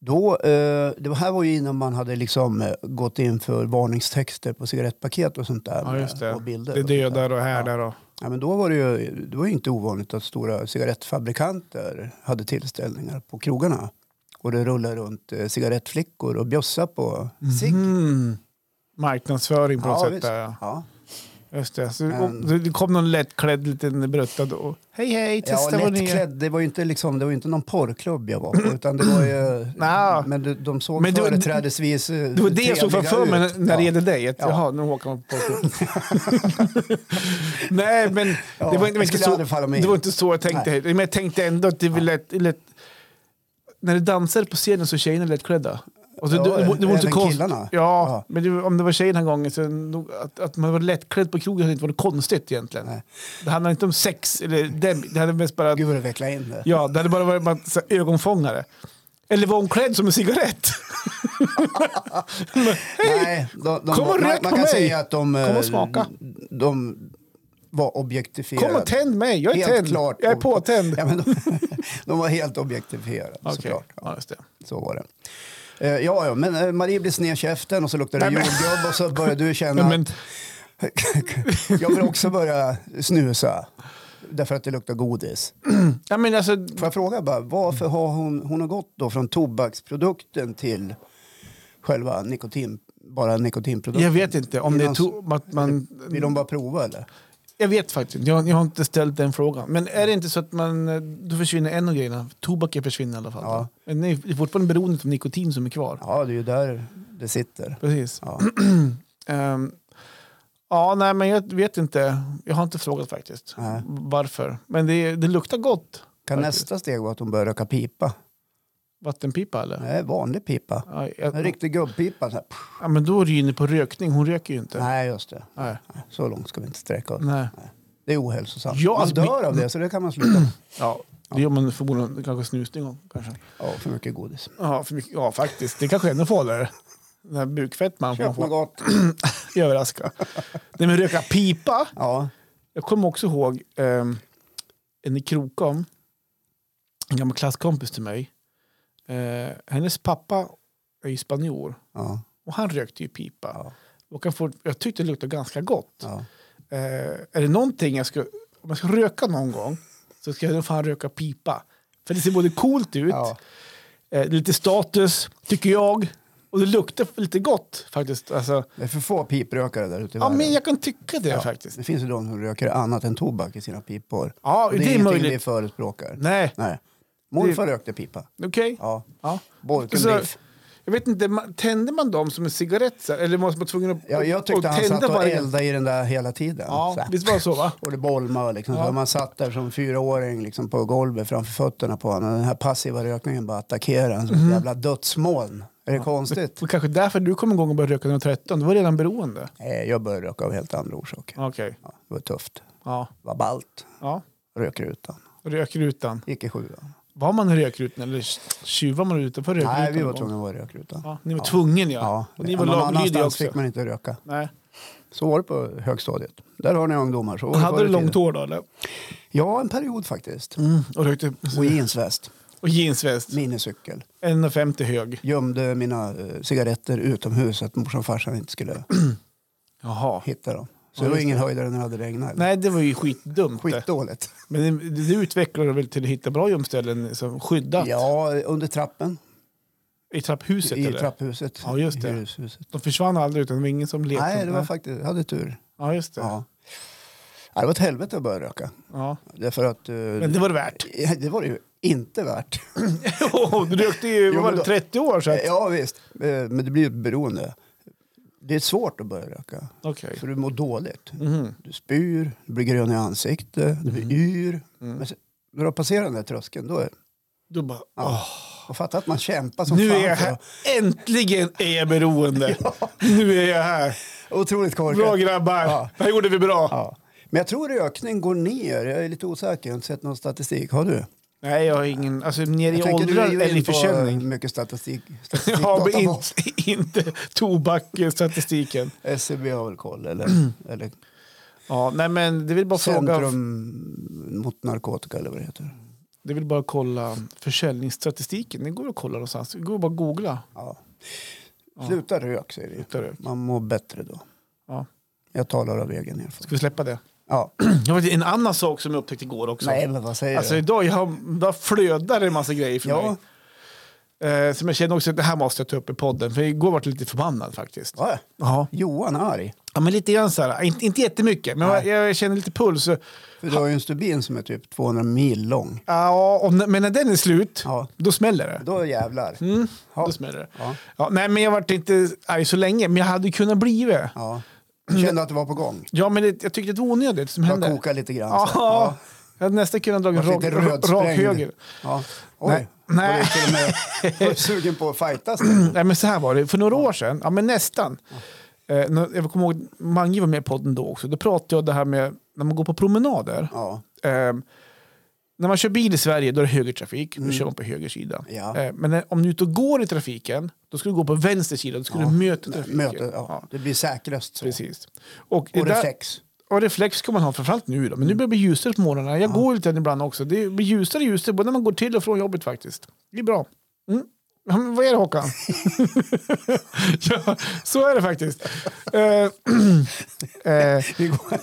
Då, eh, det var- här var ju innan man hade liksom eh, gått in för varningstexter på cigarettpaket och sånt där.
ja,
med-
just det.
Och bilder.
det
och sånt där.
dödar och härdar. Och,
Ja, men då var det, ju, det var ju inte ovanligt att stora cigarettfabrikanter hade tillställningar på krogarna. Och det rullar runt eh, cigarettflickor och bjössar på cigg.
Mm. Marknadsföring på något sätt.
visst.
Där, ja.
ja.
Just det. Så,
Men-
och, det kom någon lättklädd liten bruttad och hej hej,
Ja,
testa vad ni är.
lättklädd. Det var ju inte, liksom, det var ju inte någon porrklubb jag var på. Utan det var ju,
Nå.
Men de, de såg
Men det var-
företrädesvis eh,
Det var det jag såg framför mig när- när det gällde dig. Att,
Ja.
Jaha, nu åker man på Nej, men
Ja, det
det, var, inte- det, var inte
skulle
så,
aldrig falla mig in.
det var inte så jag tänkte. Men jag tänkte ändå att det var lätt, lätt... När det dansar på scenen så är tjejerna lättklädda. Och så,
Ja,
det, det, det var inte
även
konst...
killarna.
Ja,
Ja.
men det, om det var tjej den här gången så nog, att, att man var lättklädd på krogen hade inte varit konstigt egentligen.
Nej.
Det handlade inte om sex, eller dem, det hade mest bara...
Gud vad du vecklade in det.
Ja, det hade bara varit bara så här ögonfångare. Eller var hon klädd som en cigarett?
Nej, de, de,
Kom och
man, man
rök på
kan
mig.
säga att de, eh,
Kom och smaka.
de var objektifierade.
Kom och tänd mig, jag är
Helt
tänd.
klart.
Jag är påtänd.
Ja, men de, de var helt objektifierade
Okej,
såklart. Ja,
ja, just det.
så var det. Eh, Ja, ja, men eh, Marie blev sned i käften och så luktade det
Nej, men-
jordgubb och så började du känna
Men, men,
att jag vill också börja snusa därför att det luktar godis.
ja, men alltså,
Får jag fråga bara, varför har hon, hon har gått då från tobaksprodukten till själva nikotin, bara nikotinprodukten?
jag vet inte om det är
Innan-
to- att man...
Vill de bara prova eller?
Jag vet faktiskt inte. Jag, jag har inte ställt den frågan. Men är det inte så att man... eh, Då försvinner en av grejerna. Tobaken försvinner i alla fall.
Ja.
Men det är fortfarande beroendet av nikotin som är kvar.
Ja, det är ju där det sitter.
Precis.
Ja.
Ehm, ja, nej, men jag vet inte. Jag har inte frågat faktiskt
Nej.
varför. Men det, det luktar gott.
Kan
Faktiskt.
nästa steg vara att hon börjar röka pipa?
Vattenpipa eller?
Nej, vanlig pipa.
Ja,
En
jag,
riktig gubbpipa. Så här. Pff,
ja, men då är du inne på rökning. Hon röker ju inte.
Nej, just det.
Nej.
Så långt ska vi inte sträcka oss.
Nej.
Det är ohälsosamt.
Ja,
man
alltså,
dör
vi-
av det, så det kan man sluta med.
Ja, det gör man förmodligen kanske snusning om. Kanske.
Ja, för mycket godis.
Ja, för mycket, ja, faktiskt. Det kanske är ännu farligare. Den här bukfettman får man
Köp något
får
gott.
överraska. Nej, men röka pipa.
Ja,
Jag kommer också ihåg ehm, en i Krokom, en gammal klasskompis till mig. Eh, hennes pappa är ju spanjor
ja,
och han rökte ju pipa.
Ja.
Och han får, jag tyckte det luktade ganska gott.
ja.
Eh, är det någonting jag ska, om jag ska röka någon gång så ska jag nog fan röka pipa. För det ser både coolt ut,
ja.
eh, det är lite status tycker jag. Och det luktar lite gott faktiskt. Alltså,
Det är för få piprökare där ute i
ja,
världen.
men jag kan tycka det faktiskt.
Det finns ju de som röker annat än tobak i sina pipor.
Ja,
Och
det är
ingenting
möjligt.
vi förespråkar.
Nej,
Nej. Morfar rökte pipa.
okej.
Ja.
Ja.
Borken
Så-
biff.
Jag vet inte, man- tände man dem som en cigarett? så här? Eller var man tvungen att
Ja, jag tyckte han satt och eldade i den där hela tiden. Så
Ja,
här.
visst var det så va?
Och det bolmade liksom. Så
Ja.
man satt där som fyraåring liksom, på golvet framför fötterna på honom. Den här passiva rökningen bara attackerade en som
Mhm.
ett jävla dödsmoln. Är det konstigt?
Det var kanske därför du kom igång och började röka när du var 13. Du var redan beroende.
Nej, jag började röka av helt andra orsaker.
Okej.
Ja, det var tufft.
Ja.
Det var ballt.
ja.
Röker utan.
Rökrutan.
Gick i sjuan.
Var man i rökrutan eller tjuvar man utanför rökrutan?
Nej, vi var
någon gång?
tvungna att vara i rökrutan.
Ja, ni var tvungen ja.
Ja,
Och ni var
någon
laglydiga
annanstans
också.
fick man inte röka.
Nej.
Så var det på högstadiet. Där har ni ungdomar. Så var det
Hade
förr i
du långt
tiden.
hår då eller?
Ja, en period faktiskt.
Och rökte
Och jeansväst,
och jeansväst.
minicykel.
1,50 hög.
Gömde mina eh, cigaretter utomhus så att morsan och farsan inte skulle
Jaha.
hitta dem. Så
Ja,
det var
just
ingen höjdare när det hade regnat. eller?
Nej, det var ju skitdumt. det.
Skitdåligt.
Men det, det utvecklade väl till att hitta bra gömställen som skyddat
Ja, under trappen.
i trapphuset?
I
eller?
trapphuset.
Ja, just det.
I hyreshuset.
De försvann aldrig utan det var ingen som lekte?
Nej, det var
Nej.
faktiskt, jag hade tur.
Ja, just det. Ja.
Ja. Ja, det var ett helvete att börja röka. Därför att... eh,
Men det var det värt.
det var det ju inte värt.
Oh, du rökte ju
Jo,
vad var
men då-
det, 30 år så att...
Ja visst, Eh, men det blir ju ett beroende. Det är svårt att börja röka,
Okej.
för du mår dåligt.
Mhm.
Du spyr, du blir grön i ansiktet, du
Mm.
blir yr. Men sen, när du har passerat den där tröskeln, då är
Du bara,
ja. Och fatta att man kämpar
"Åh,
som
nu
fan.
är jag
för
här. Äntligen är jag beroende. Nu är jag här.
att- Otroligt
Bra
korkat.
grabbar.
Ja.
Det här gjorde vi bra.
Ja. Men jag tror rökningen går ner. Jag är lite osäker, jag har inte sett någon statistik. Har du?
Nej, jag har ingen... Alltså ner i
Jag tänker, du
åldrar
är ju
eller i
in på
försäljning.
mycket statistik. statistik
Ja, men inte, inte tobaksstatistiken.
SCB E har väl koll, eller, eller
Ja, nej men det vill bara fråga...
Centrum mot narkotika eller vad det heter.
Det vill bara kolla försäljningsstatistiken. Det går att kolla någonstans. Det går bara att googla.
Ja. Sluta rök säger vi.
Sluta rök.
Man mår bättre då.
Ja.
Jag talar av egen erfarenhet.
Ska vi släppa det?
Ja.
Jag vet, en annan sak som jag upptäckte igår också.
Nej men vad säger
alltså
du?
idag, jag har, idag flödar det en massa grejer för
Ja.
mig. Eh, som jag kände också att det här måste jag ta upp i podden. För igår var jag lite förbannad faktiskt.
Ja,
Ja.
Johan är arg.
ja, men lite grann så här. Inte, inte jättemycket, men jag,
Nej.
jag känner lite puls. Så-
För du har ju en stubin som är typ 200 mil lång.
Ja, och, n- men när den är slut,
Ja.
då smäller det.
Då jävlar.
Mm,
Ja.
då smäller det.
Ja.
Ja, nej, men jag varit inte arg så länge, men jag hade kunnat bli det.
Ja.
Mm.
Du kände att det var på gång.
Ja, men det, jag tyckte det var onödigt som
Jag
hände.
kokade lite grann.
Ja,
så. alltså. Ja.
Jag hade nästan kunnat dra en
Vart
rak,
lite
ra- rak
rödsprängd.
höger.
Ja. Oj.
Nej.
Var
Nej.
du till och med var du sugen på att fightas? där?
Nej, men så här var det. För några år sedan, ja men nästan. Eh, när- jag kommer ihåg, Mange var med i podden då också. Då pratade jag om det här med när man går på promenader.
Ja.
Eh, när man kör bil i Sverige då är det högertrafik, då kör man på höger sida.
Mm. Ja.
Eh, men när, om du är ute och går i trafiken, då ska du gå på vänster sida, då ska
Ja.
du möta trafiken.
Möte, ja. Det blir säkrast så.
Precis. Och, det
Och
där-
reflex. Mm.
och reflex ska man ha, framförallt nu då. Men nu börjar det bli ljusare på morgnarna. Jag går ju lite ibland också. Det blir ljusare och ljusare, både när man går till och från jobbet faktiskt. Det är bra. Mm. Ja, men Vad är det Håkan? ja, så är det faktiskt. Eh, eh,
Vi går...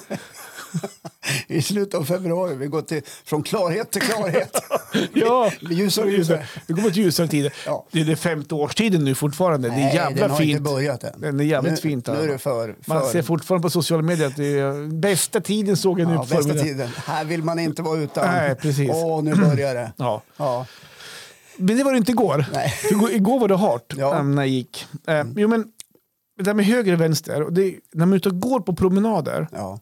I slutet av februari, vi går till, från klarhet till klarhet.
ja.
Ljusare och ljusare.
Det går mot ljusare tider.
Ja.
Det är det femte årstiden nu fortfarande. det är jävla
den har inte
fint.
börjat än.
Den är jävligt
nu,
fint. alltså.
Nu är det för...
Man
för
ser fortfarande på sociala medier att det är bästa tiden såg jag nu
ja,
på
bästa
förmiddagen.
tiden. Här vill man inte vara utan.
Nej, precis.
Åh, nu börjar det.
Ja.
Ja.
Men det var det inte igår.
Nej.
Igår, igår var det hårt
Ja. Mm.
äm, när jag gick. Eh, Jo, men det där med höger och vänster, och det, när man är ute och går på promenader
Ja.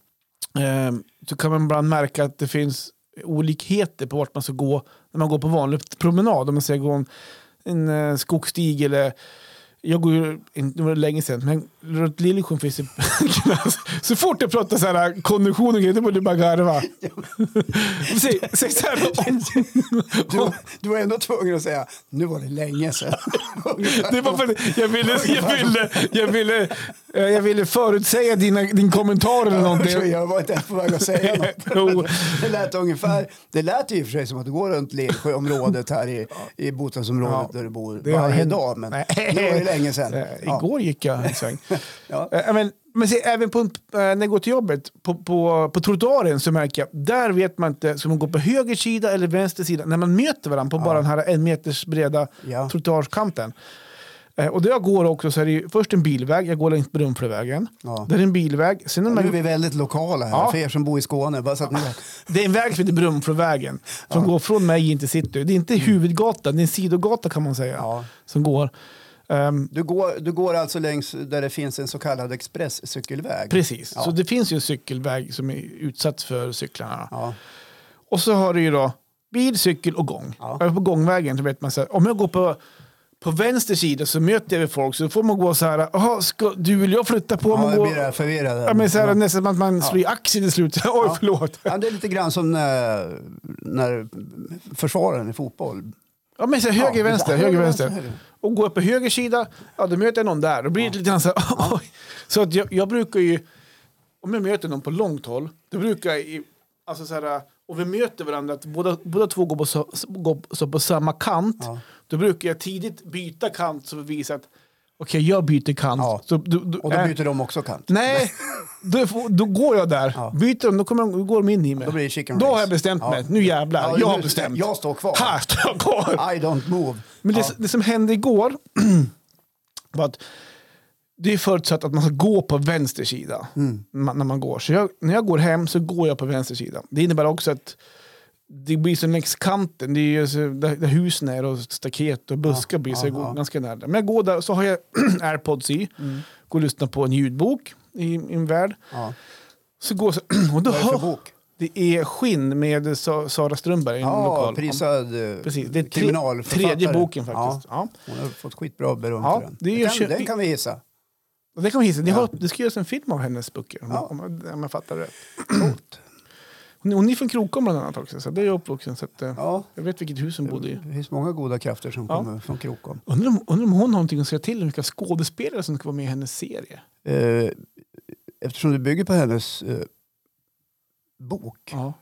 eh, så kan man ibland märka att det finns olikheter på vart man ska gå när man går på vanlig promenad. Om man ska gå en, en eh, skogsstig eller jag går ju, inte- nu var det länge sedan, men runt Liljesjön finns det... så fort jag pratar så här eh, kondition och grejer, då börjar du bara garva. Säg, säg så här,
Du, du var ändå tvungen att säga, nu var det länge sedan.
Det var för att jag ville, jag ville, jag ville, eh, jag ville förutsäga dina, din kommentar eller
Så
någonting.
jag var inte ens på väg att säga något.
Jo.
Det lät ungefär, det lät i och för sig som att du går runt Lillsjöområdet här i, i bostadsområdet
Ja,
där du bor
det har
varje
hänt.
dag. Men
Nej.
nu var det länge sedan.
Eh,
Ja.
Igår gick jag en sväng.
Ja.
Eh, Men, men se, även på, en- eh, när jag går till jobbet, på, på, på trottoaren så märker jag, där vet man inte, ska man gå på höger sida eller vänster sida? När man möter varandra på bara den här en meters breda
Ja.
trottoarskanten. Eh, Och där jag går också så är det ju först en bilväg, jag går längs Brunflovägen.
Ja.
Där är en bilväg, sen när
Nu
man
är vi väldigt lokala här,
Ja.
för er som bor i Skåne. Bara så att ni vet.
Det är en väg som heter Brunflovägen som går från mig in till city. Det är inte huvudgatan, det är en sidogata kan man säga.
Mm. Ja.
Som går. Ehm,
Du, går, du går alltså längs där det finns en så kallad expresscykelväg.
precis,
Ja.
så det finns ju en cykelväg som är utsatt för cyklarna.
Ja.
Och så har du ju då bil, cykel och gång.
Ja.
Och På gångvägen så vet man så här, om jag går på på vänster sida så möter jag folk så får man gå så här, "Jaha, ska, du vill jag flytta på
Ja,
mig?
jag
och
blir
gå-
där förvirrad.
Ja, men så här, nästan som att man slår i axeln i slutet. Oj,
Ja.
förlåt.
Ja, det är lite grann som när, när försvararen i fotboll.
Ja, men så här, höger,
Ja,
vänster,
det-
höger, vänster. och går jag på höger sida, ja då möter jag någon där. Då blir det lite grann så här, oj. Så att jag, jag brukar ju, om jag möter någon på långt håll, då brukar jag, i- alltså så här, och vi möter varandra, att båda, båda två går på, så, går så på samma kant,
Ja.
då brukar jag tidigt byta kant så vi visar att okej, jag byter kant.
Ja.
Så, du, du,
Och då
äh,
byter de också kant.
Nej, då, får- då går jag där.
Ja.
Byter de, då, kommer de, då går de in i mig.
Då blir det chicken
Då
race.
har jag bestämt
Ja.
mig. Nu jävlar,
Ja,
jag har
nu-
bestämt.
jag står kvar.
Här står jag kvar.
I don't move.
Men det,
ja.
det som hände igår var att det är förutsatt att man ska gå på vänster sida
Mm.
ma- när man går. Så jag, när jag går hem så går jag på vänster sida. Det innebär också att det blir så längs kanten, det är ju så, där, där husen är och staket och buskar blir, så jag
ja,
går
ja.
ganska nära. Men jag går där och så har jag airpods i,
Mm.
går och lyssnar på en ljudbok i min värld.
ja.
Så går jag så, och då
Vad är det för
hör,
bok?
det är Skinn med Sa- Sara Strömberg, en
Ja,
lokal.
prisad eh,
Precis, det är tre,
kriminalförfattare.
tredje boken faktiskt.
Ja,
Ja.
hon har fått skitbra beröm
Ja,
för den.
det är ju
den,
kö-
den kan vi gissa.
Och Det kan man gissa. Det,
Ja.
har, det ska göras en film av hennes böcker. Om,
Ja.
om, om, jag fattar rätt. Hon, hon är från Krokom bland annat också, så det är jag uppvuxen. Så att, eh,
Ja,
Jag vet vilket hus hon bodde i.
det finns många goda krafter som
Ja.
kommer från Krokom.
Undrar om, undrar om hon har någonting att säga till om vilka skådespelare som ska vara med i hennes serie.
Eh, eftersom det bygger på hennes eh, bok
Ja.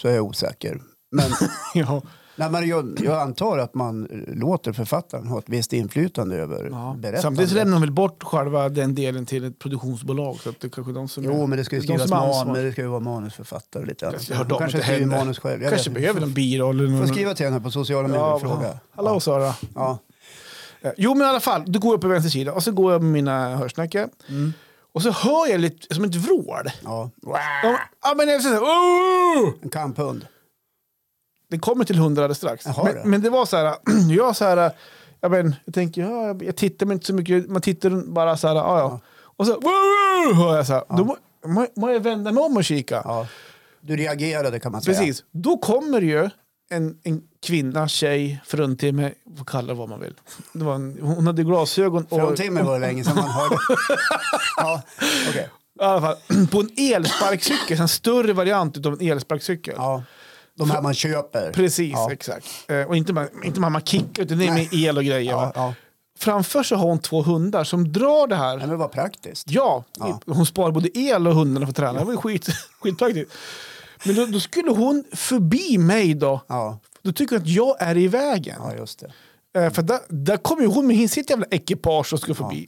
så är jag osäker. Men
ja.
Nej, men jag, jag antar att man låter författaren ha ett visst inflytande över
Ja.
berättandet.
Samtidigt så lämnar de väl bort själva den delen till ett produktionsbolag. Så att det kanske är de som
Jo, men det ska ju
är de
skrivas
som är
man,
ansvariga.
men det ska ju vara manusförfattare och lite annat.
Jag har
Hon
dem
kanske
inte
skriver
heller.
manus själv. Jag
kanske
vet inte.
behöver en biroll. eller
Får
någon-
jag skriva till henne på sociala medier och fråga?
Hallå Sara.
Ja.
Eh, Jo men i alla fall, då går jag på vänster sida och så går jag med mina hörsnäckor. Och så hör jag lite som ett vrål.
ja.
Ja, Ja, men jag, så här, "Åh!"
En kamphund.
det kommer till hundra alldeles strax.
Jaha,
men,
det.
men det var så här, jag så här, jag, men, jag tänker, ja, jag- jag tittar men inte så mycket, man tittar bara så här, ja, ja. Och så "Åh!" hör jag så här, då må, må, må jag vända mig om och kika.
Ja. Du reagerade kan man säga.
Precis, då kommer ju en, en kvinna, tjej, fruntimmer, vad kallar det vad man vill. Det var en, hon hade glasögon och...
Fruntimmer var det länge sedan man hörde. ja. okej.
I alla fall, på en elsparkcykel, en större variant av en elsparkcykel.
ja. De här man köper.
Precis,
Ja.
exakt. Eh, och inte man, inte man, man kickar, utan det är med el och grejer.
Ja,
va?
ja.
Framför sig har hon två hundar som drar det här.
Nej, men vad praktiskt.
Ja, hon sparar både el och hundarna för träna. Det var ju skit, skitpraktiskt. Men då, då skulle hon förbi mig då.
Ja,
Då tycker hon att jag är i vägen.
ja just det.
Eh, För där, där kom ju hon med hin- sitt jävla ekipage och skulle förbi.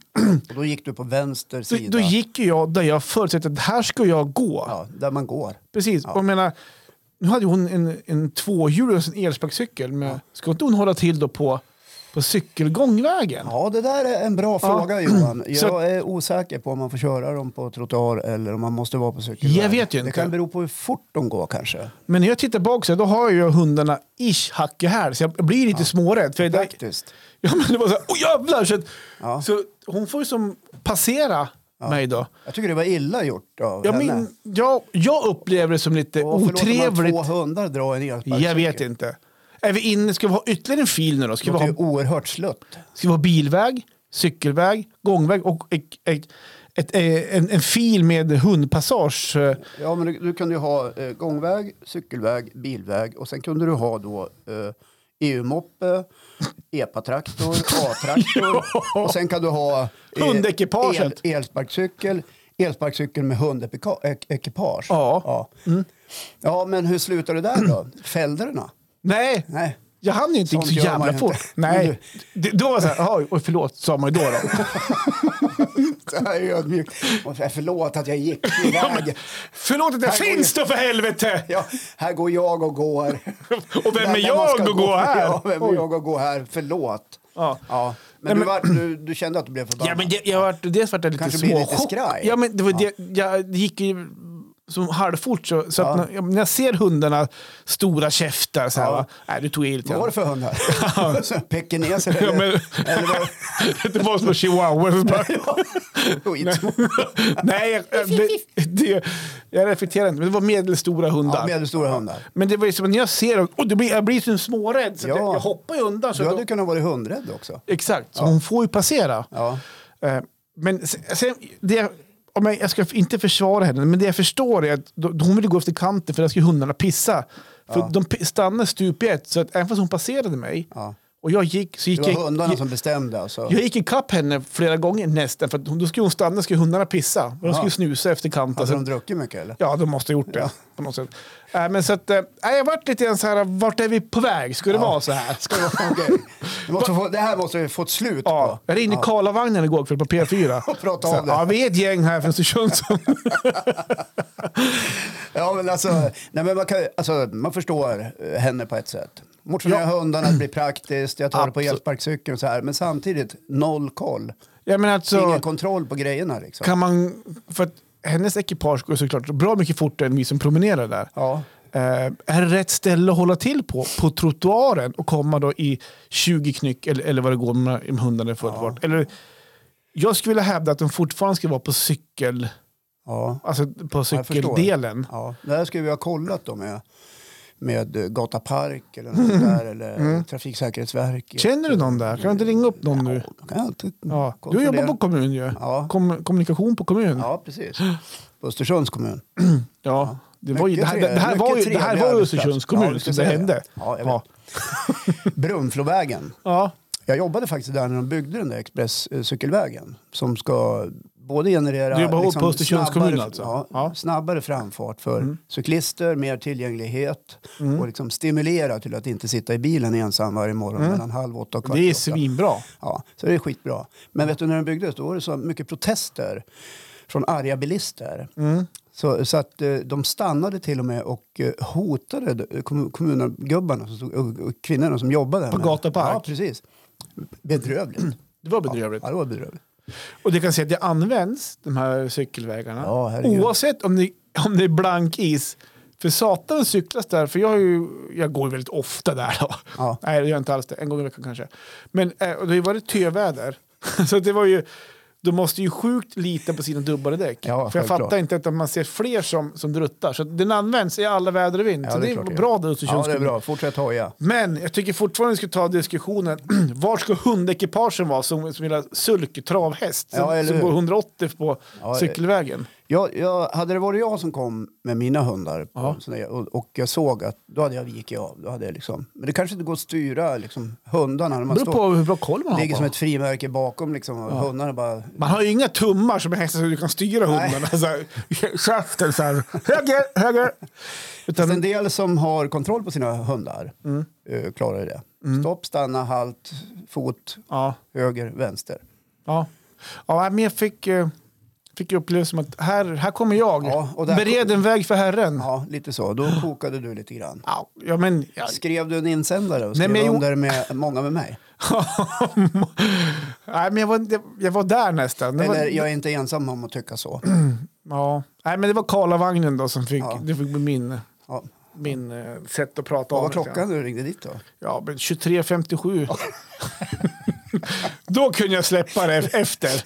Och då gick du på vänster
Då,
sida.
då gick ju jag där jag förutsatte att här ska jag gå.
ja, där man går.
Precis. Och jag menar, nu hade ju hon en, en tvåhjulig och en elsparkcykel. Men Ska inte hon hålla till då på, på cykelgångvägen?
Ja, det där är en bra fråga Johan. Jag
Så-
är osäker på om man får köra dem på trottoar eller om man måste vara på cykelväg.
Jag vet ju
Det
inte.
kan bero på hur fort de går kanske.
Men när jag tittar bak så här, då har jag ju hundarna ish hack i här. Så jag blir lite smårädd. För jag,
Praktiskt.
ja, men det var så här, åh jävlar! Så, att-
Ja.
så hon får ju som passera mig då.
Jag tycker det var illa gjort av
Jag,
henne.
min, jag, jag upplever det som lite
Och förlåt om man
otrevligt.
två hundar drar en elsparkcykel.
Jag vet inte. Är vi inne? Ska vi ha ytterligare en fil nu då? Ska
Det
vi
är
ha,
ju oerhört slött.
ska vi ha bilväg, cykelväg, gångväg och ett, ett, ett, eh, en, en fil med hundpassage? eh,
Ja, men du, du kunde ju ha eh, gångväg, cykelväg, bilväg och sen kunde du ha då eh, EU-moppe, EPA-traktor, A-traktor och sen kan du ha eh,
Hundekipaget.
El, elsparkcykel, elsparkcykel med hundekipage. eh,
Ja. Mm.
Ja. ja, men hur slutar det där då? Fällde den då?
Nej,
Nej.
jag hann ju inte
Sånt
så
gör man
jävla
ju
fort.
inte.
Nej, det, då var jag så här, "Jaha, oj, förlåt, sa man ju då. då.
Det här är ödmjukt. Och så här, Förlåt att jag gick iväg.
Förlåt att jag
Här går
finns då för helvete!
Ja, här går jag och går.
Och vem
Där- där
är
man ska
jag att gå här?
Ja, vem är
Oj.
jag att gå här? Förlåt.
Ja.
Ja.
Nej,
Men, du,
men-
var, du, du kände att du blev förbannad?
Ja, men det, jag var, dels vart jag lite
Kanske blir lite
småchock.
skraj.
Ja, men det, var Det, jag, det gick ju som halvfort. Så, så att när, ja, men när jag ser hundarna, stora käftar, så här,
Ja.
va? Nej, du tog i lite.
Vad var det för hundar? Så här Pekineser eller?
Ja, men,
eller vad?
det var som chihuahua.
Skit.
Nej, jag, det, det, jag reflekterar inte. Men det var medelstora hundar.
Ja, medelstora hundar.
Men det var ju som när jag ser dem, oh, det blir, jag blir som smårädd. Så att
Ja.
jag, jag hoppar ju undan. Så
Du
att
hade ju kunnat vara hundrädd också.
de, exakt, så hon får ju passera.
Ja.
Eh, Men se- sen, det, jag- om jag, jag ska inte försvara henne, men det jag förstår är att då- hon ville gå efter kanten för där skulle hundarna pissa. För de pi- stannade stup i ett, så att även fast hon passerade mig
Ja.
och jag gick så gick
Det
jag,
var hundarna
jag,
som bestämde alltså.
jag gick ikapp henne flera gånger nästan, för att hon- då skulle hon stanna skulle hundarna pissa. Och de skulle snusa efter kanten.
Hade
Så,
de druckit mycket eller?
ja, de måste ha gjort det på något sätt. Eh, men så att, eh, nej, jag vart lite grann så här, vart är vi på väg? Ska det vara så här?
Ska det vara- okej. Det, måste få, det här måste vi få ett slut
Ja, jag ringde Karlavagnen igår kväll på P4.
Och prata
Så,
om det.
Ja, vi är ett gäng här från Östersund som
på. Ja, men alltså, nej, men man, kan, alltså, man förstår eh, henne på ett sätt. Motionera hundarna, det blir praktiskt, jag tar det på
Absolut.
elsparkcykeln och så här. Men samtidigt, noll koll.
Ja, men alltså,
Ingen kontroll på grejerna liksom.
kan man, för att hennes ekipage går såklart bra mycket fortare än vi som promenerar där.
Ja.
Eh, är det rätt ställe att hålla till på? På trottoaren och komma då i 20 knyck eller, eller vad det går med med hundarna i full fart? Eller, jag skulle vilja hävda att de fortfarande ska vara på cykel,
Ja.
alltså på
jag förstår.
cykeldelen.
Ja, det här skulle vi ha kollat då med, med eh, Gata Park eller något sånt där, eller Trafiksäkerhetsverket.
Mm. Känner du någon där? Kan du inte ringa upp någon nu?
Då kan jag alltid
Ja. Du
kontrollera.
jobbar på kommun ju.
Ja.
Kom, kommunikation på kommun. Ja.
Ja, precis. På Östersunds kommun.
Det, var ju, det,
Mycket
här, det, här
trevlig-
var ju,
mycket
det här
trevlig
var ju
arbetsplats.
Östersunds
Ja,
kommun
du
som
ska
det
säga
hände.
Ja, jag
Ja.
vet. Brunflovägen.
Ja.
Jag jobbade faktiskt där när de byggde den där expresscykelvägen som ska både generera liksom
Du jobbar hårt på Östersunds
snabbare-
kommun alltså?
Ja,
Ja. Mm.
snabbare framfart för cyklister, mer tillgänglighet och liksom stimulera till att inte sitta i bilen ensam varje morgon mellan halv åtta och kvart
Mm. Det
i
är
åtta.
svinbra.
Ja, så det är skitbra. Men vet du, när den byggdes då var det så mycket protester från arga bilister.
Mm.
Så, så att eh, de stannade till och med och eh, hotade de- kommun- kommungubbarna som stod, och, och kvinnorna som jobbade.
På
med-
gata och park?
Ja, precis. Bedrövligt.
Det var bedrövligt.
Ja, det var bedrövligt.
Och det kan se att det används, de här cykelvägarna.
Ja, herregud.
Oavsett om det, om det är blank is. För satan cyklas där, för jag, har ju, jag går ju väldigt ofta där. Då.
Ja.
Nej, det gör jag inte alls det. En gång i veckan kanske. Men eh, och det har ju varit töväder. Så att det var ju, de måste ju sjukt lita på sina dubbade däck.
Ja,
för jag
självklart.
fattar inte att man ser fler som, som druttar. Så att den används i alla väder och vind.
Ja,
så
det är
det
klart det
är
gör.
bra där
Ja,
Östersunds
det är
kommun.
bra. Fortsätt hoja.
Men jag tycker fortfarande vi ska ta diskussionen. Var ska hundekipagen vara som, som gillar sulktravhäst som,
Ja, eller
som
hur?
går 180 på
Ja, eh,
cykelvägen?
Jag, jag, hade det varit jag som kom med mina hundar på
Ja.
en sån där, och, och jag såg att då hade jag vikit av. Då hade jag liksom, men det kanske inte går att styra liksom, hundarna. När man
Det beror
står-
på hur bra koll man har
ligger
på
som
dem.
ett frimärke bakom liksom, och hundarna bara...
Man har ju inga tummar som är hästar så du kan styra hunden. Så här, Käften så här. Höger, höger.
Fast en
Utan,
del som har kontroll på sina hundar
Mm.
eh, klarar det. Stopp, stanna, halt, fot,
ja,
höger, vänster.
ja. ja, men jag fick, eh, fick upplevelsen att här, här kommer jag.
Ja, och där-
Bered en väg för Herren. Ja.
Ja, lite så.
Ah.
Då kokade du lite grann.
Ja, men, ja,
Skrev du en insändare och
Nej,
skrev
men jag-
under med många med mig?
Nej, men jag, var, jag, jag var där nästan. Det var,
Eller jag är inte ensam om att tycka så.
Ja, nej men det var Karlavagnen då som fick,
Ja.
det fick bli min,
Ja.
min eh, sätt att prata
Vad
om
var
det lite
klockan
grann.
när du ringde dit då?
Ja, men 23.57. då kunde jag släppa det efter.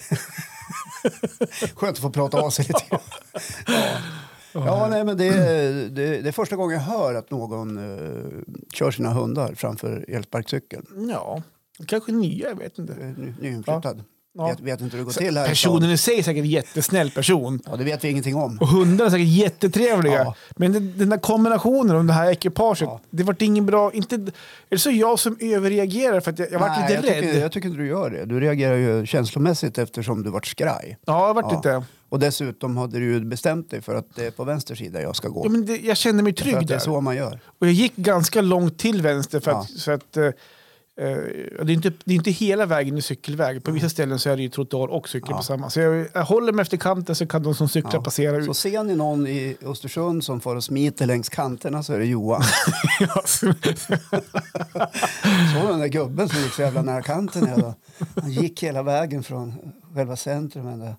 Skönt att få prata av sig lite. Ja, ja nej, men det, är- det, det är första gången jag hör att någon eh, kör sina hundar framför elsparkcykeln.
Ja, kanske nya, jag vet inte.
Eh, ny- Nyinflyttad.
Ja.
Vet, vet inte hur det går till här i stan.
Personen i sig är säkert en jättesnäll person.
Ja, det vet vi ingenting om.
Och hundarna är säkert jättetrevliga.
Ja.
Men den, den där kombinationen om det här ekipaget,
Ja.
det vart ingen bra... Inte, är det så jag som överreagerar för att jag, jag vart
Nej,
lite
jag
rädd?
Tycker, jag tycker inte du gör det. Du reagerar ju känslomässigt eftersom du vart skraj.
Ja, jag vart
Ja.
lite...
Och dessutom hade du ju bestämt dig för att det är på vänster sida jag ska gå.
Ja, men det, jag kände mig
för
trygg
att det är
där.
så man gör.
Och jag gick ganska långt till vänster för
Ja.
att, så att eh, eh, det, är inte, det är inte hela vägen i cykelväg. På vissa ställen så är det ju trottoar och cykel
Mm. Ja.
på samma. Så jag, jag håller mig efter kanten så kan de som cyklar
Ja.
passera
Så
ut.
ser ni någon i Östersund som får och smiter längs kanterna så är det Johan.
Ja, så-
Såg du den där gubben som gick så jävla nära kanten? Hela, han gick hela vägen från själva centrum ända,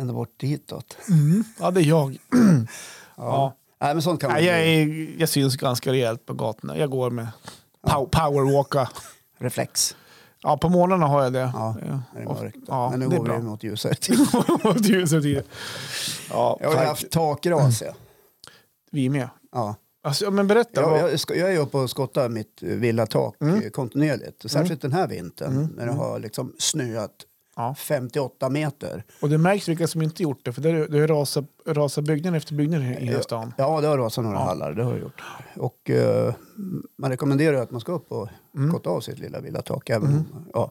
ända bort ditåt.
ja, det är jag. Ja.
Nej, men sånt kan man
Nej, jag,
ju-
är, jag syns ganska rejält på gatorna. Jag går med pow, powerwalka.
Reflex.
Ja, på morgnarna har jag det.
Ja, när det är
och-
mörkt.
ja,
men nu
det är
går
bra.
vi mot ljusare tid.
Mot ljusare tider. Ja,
Jag har ju
tack.
haft takras. ja.
Vi är med.
Ja.
Alltså, men berätta. vad-
Jag, jag, sko- jag är uppe och skottar mitt eh, villatak
Mm.
eh, kontinuerligt. Särskilt den här vintern när det har liksom snöat
Ja.
58 meter.
Och det märks vilka som inte gjort det, för det har- det har rasat, rasat byggnader efter byggnader i hela stan.
Ja, det har rasat några hallar. Det har det gjort. Och eh, man rekommenderar att man ska upp och
Mm.
skotta av sitt lilla villatak. Även, om- ja.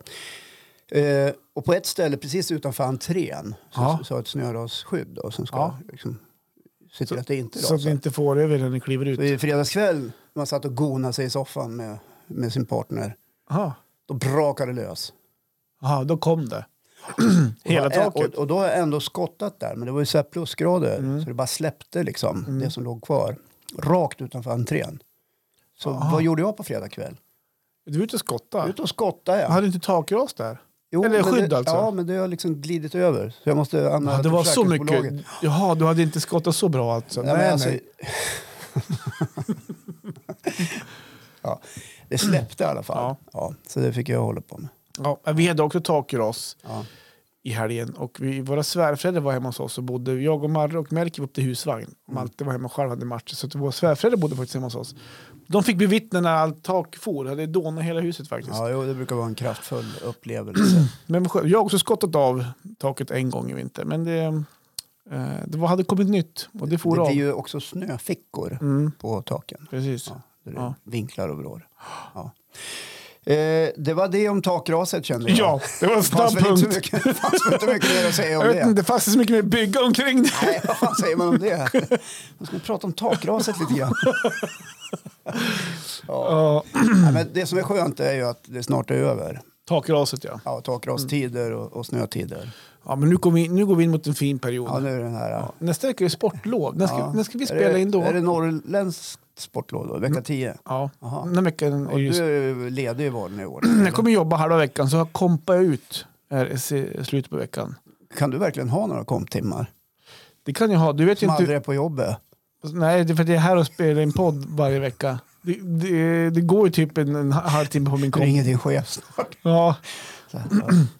eh, och på ett ställe precis utanför entrén så,
Ja.
så har ett snörasskydd då, som ska
Ja.
liksom, se till att det inte
Så
rasar.
att vi inte får över när ni kliver
Så
ut.
I fredagskväll man satt och gonade sig i soffan med, med sin partner.
Aha.
Då brakade det lös.
Aha, då kom det. Hela
och, då-
taket. Mm.
Och, och då har jag ändå skottat där, men det var ju så här plusgrader så det bara släppte liksom det som låg kvar. Rakt utanför entrén. Så vad gjorde jag på fredag kväll?
Du var ute och skottade.
Ut och skottade jag.
Hade du inte takras där?
Jo,
eller
men
skydd
det,
alltså?
Ja, men det har liksom glidit över. Så jag måste anmäla
Ja, det
till
var så
försäkringsbolaget.
mycket. Jaha, du hade inte skottat så bra alltså?
Ja,
Nej,
men
nej.
alltså- ja, det släppte i alla fall.
Ja.
Ja. så det fick jag hålla på med.
Ja, vi hade också takras
Ja.
i helgen och vi, våra svärföräldrar var hemma hos oss och bodde, jag och Marre och Melker var upp till husvagn.
Mm.
Malte var hemma själv hade matcher så att våra svärföräldrar bodde faktiskt hemma hos oss. De fick bevittna när allt tak for, det hade dånat hela huset faktiskt.
ja, jo, det brukar vara en kraftfull upplevelse.
Men vad skönt. jag har också skottat av taket en gång i vinter, men det, eh, det var, hade kommit nytt och det for
det
av.
blir ju också snöfickor
Mm,
på taken.
precis.
Ja, där det
Ja.
vinklar och vrår. Ja. Eh, det var det om takraset kände jag.
Ja, det var en
Det fanns
snabb
väl inte så
punkt.
mycket, det fanns väl inte mycket mer att säga om
Jag vet
det.
inte, det fanns inte så mycket mer bygga omkring det.
Nej, vad fan säger man om det? Man ska prata om takraset lite grann. Ja.
Ja,
Nej, men det som är skönt är ju att det snart är över.
takraset ja.
Ja, takrastider och, och snötider.
Ja, men nu, går vi in, nu går vi in mot en fin period.
Ja, nu är den här... Ja.
Nästa vecka är det sportlov. När ska,
Ja.
när ska vi
Är
spela
det,
in då?
Är det norrländskt sportlov då? Vecka 10?
Ja,
Aha.
den veckan är
Och
just...
du är ledig i valen i år?
Jag kommer jobba halva veckan så jag kompar ut här i se- slutet på veckan.
Kan du verkligen ha några komptimmar?
Det kan jag ha. Du vet ju
Som
inte...
aldrig är på jobbet?
Nej, det är för att jag är här och spelar in podd varje vecka. Det, det, det går ju typ en, en halvtimme på min komp.
Ringer din chef snart.
Ja.
Så här,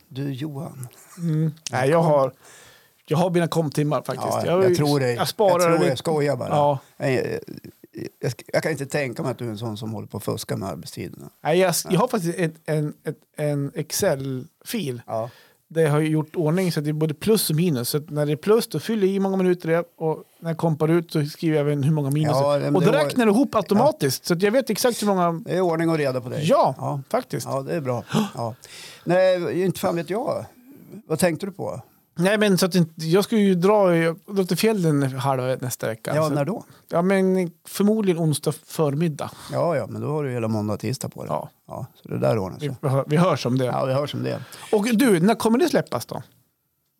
Du Johan.
Mm. Nej, jag har, jag har mina komptimmar faktiskt.
Ja, jag, tror dig.
Jag sparar
jag tror
lite.
jag skojar bara.
Ja.
Jag, jag, jag, jag kan inte tänka mig att du är en sån som håller på och fuskar med arbetstiderna.
Nej, jag, jag har faktiskt ett, en, ett, en Excel-fil
Ja.
där jag har gjort ordning så att det är både plus och minus. Så att när det är plus då fyller jag i hur många minuter det är och när jag kompar ut så skriver jag även hur många minus
Ja,
det
men
är. Och
det
då
var-
räknar det ihop automatiskt så att jag vet exakt hur många...
Det är ordning och reda på dig.
Ja,
Ja,
faktiskt.
ja det är bra. Ja. Nej, inte fan vet jag. Vad tänkte du på?
Nej, men så att inte- jag ska ju dra i- dra till fjällen halva nästa vecka.
Ja,
så,
när då?
ja, men förmodligen onsdag förmiddag.
Ja, ja, men då har du hela måndag och tisdag på dig.
Ja,
Ja, så det där ordnar
vi,
sig.
vi hör- vi hörs om det.
Ja, vi hörs om det.
Och du, när kommer det släppas då?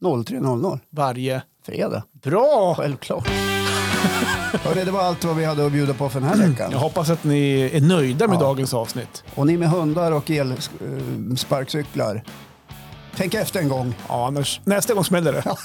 03.00,
Varje...
fredag.
Bra!
Självklart. Hörde, det var allt vad vi hade att bjuda på för den här veckan.
Jag hoppas att ni är nöjda med
Ja.
dagens avsnitt.
Och ni med hundar och elsparkcyklar, tänk efter en gång.
Ja, annars, nästa gång smäller det.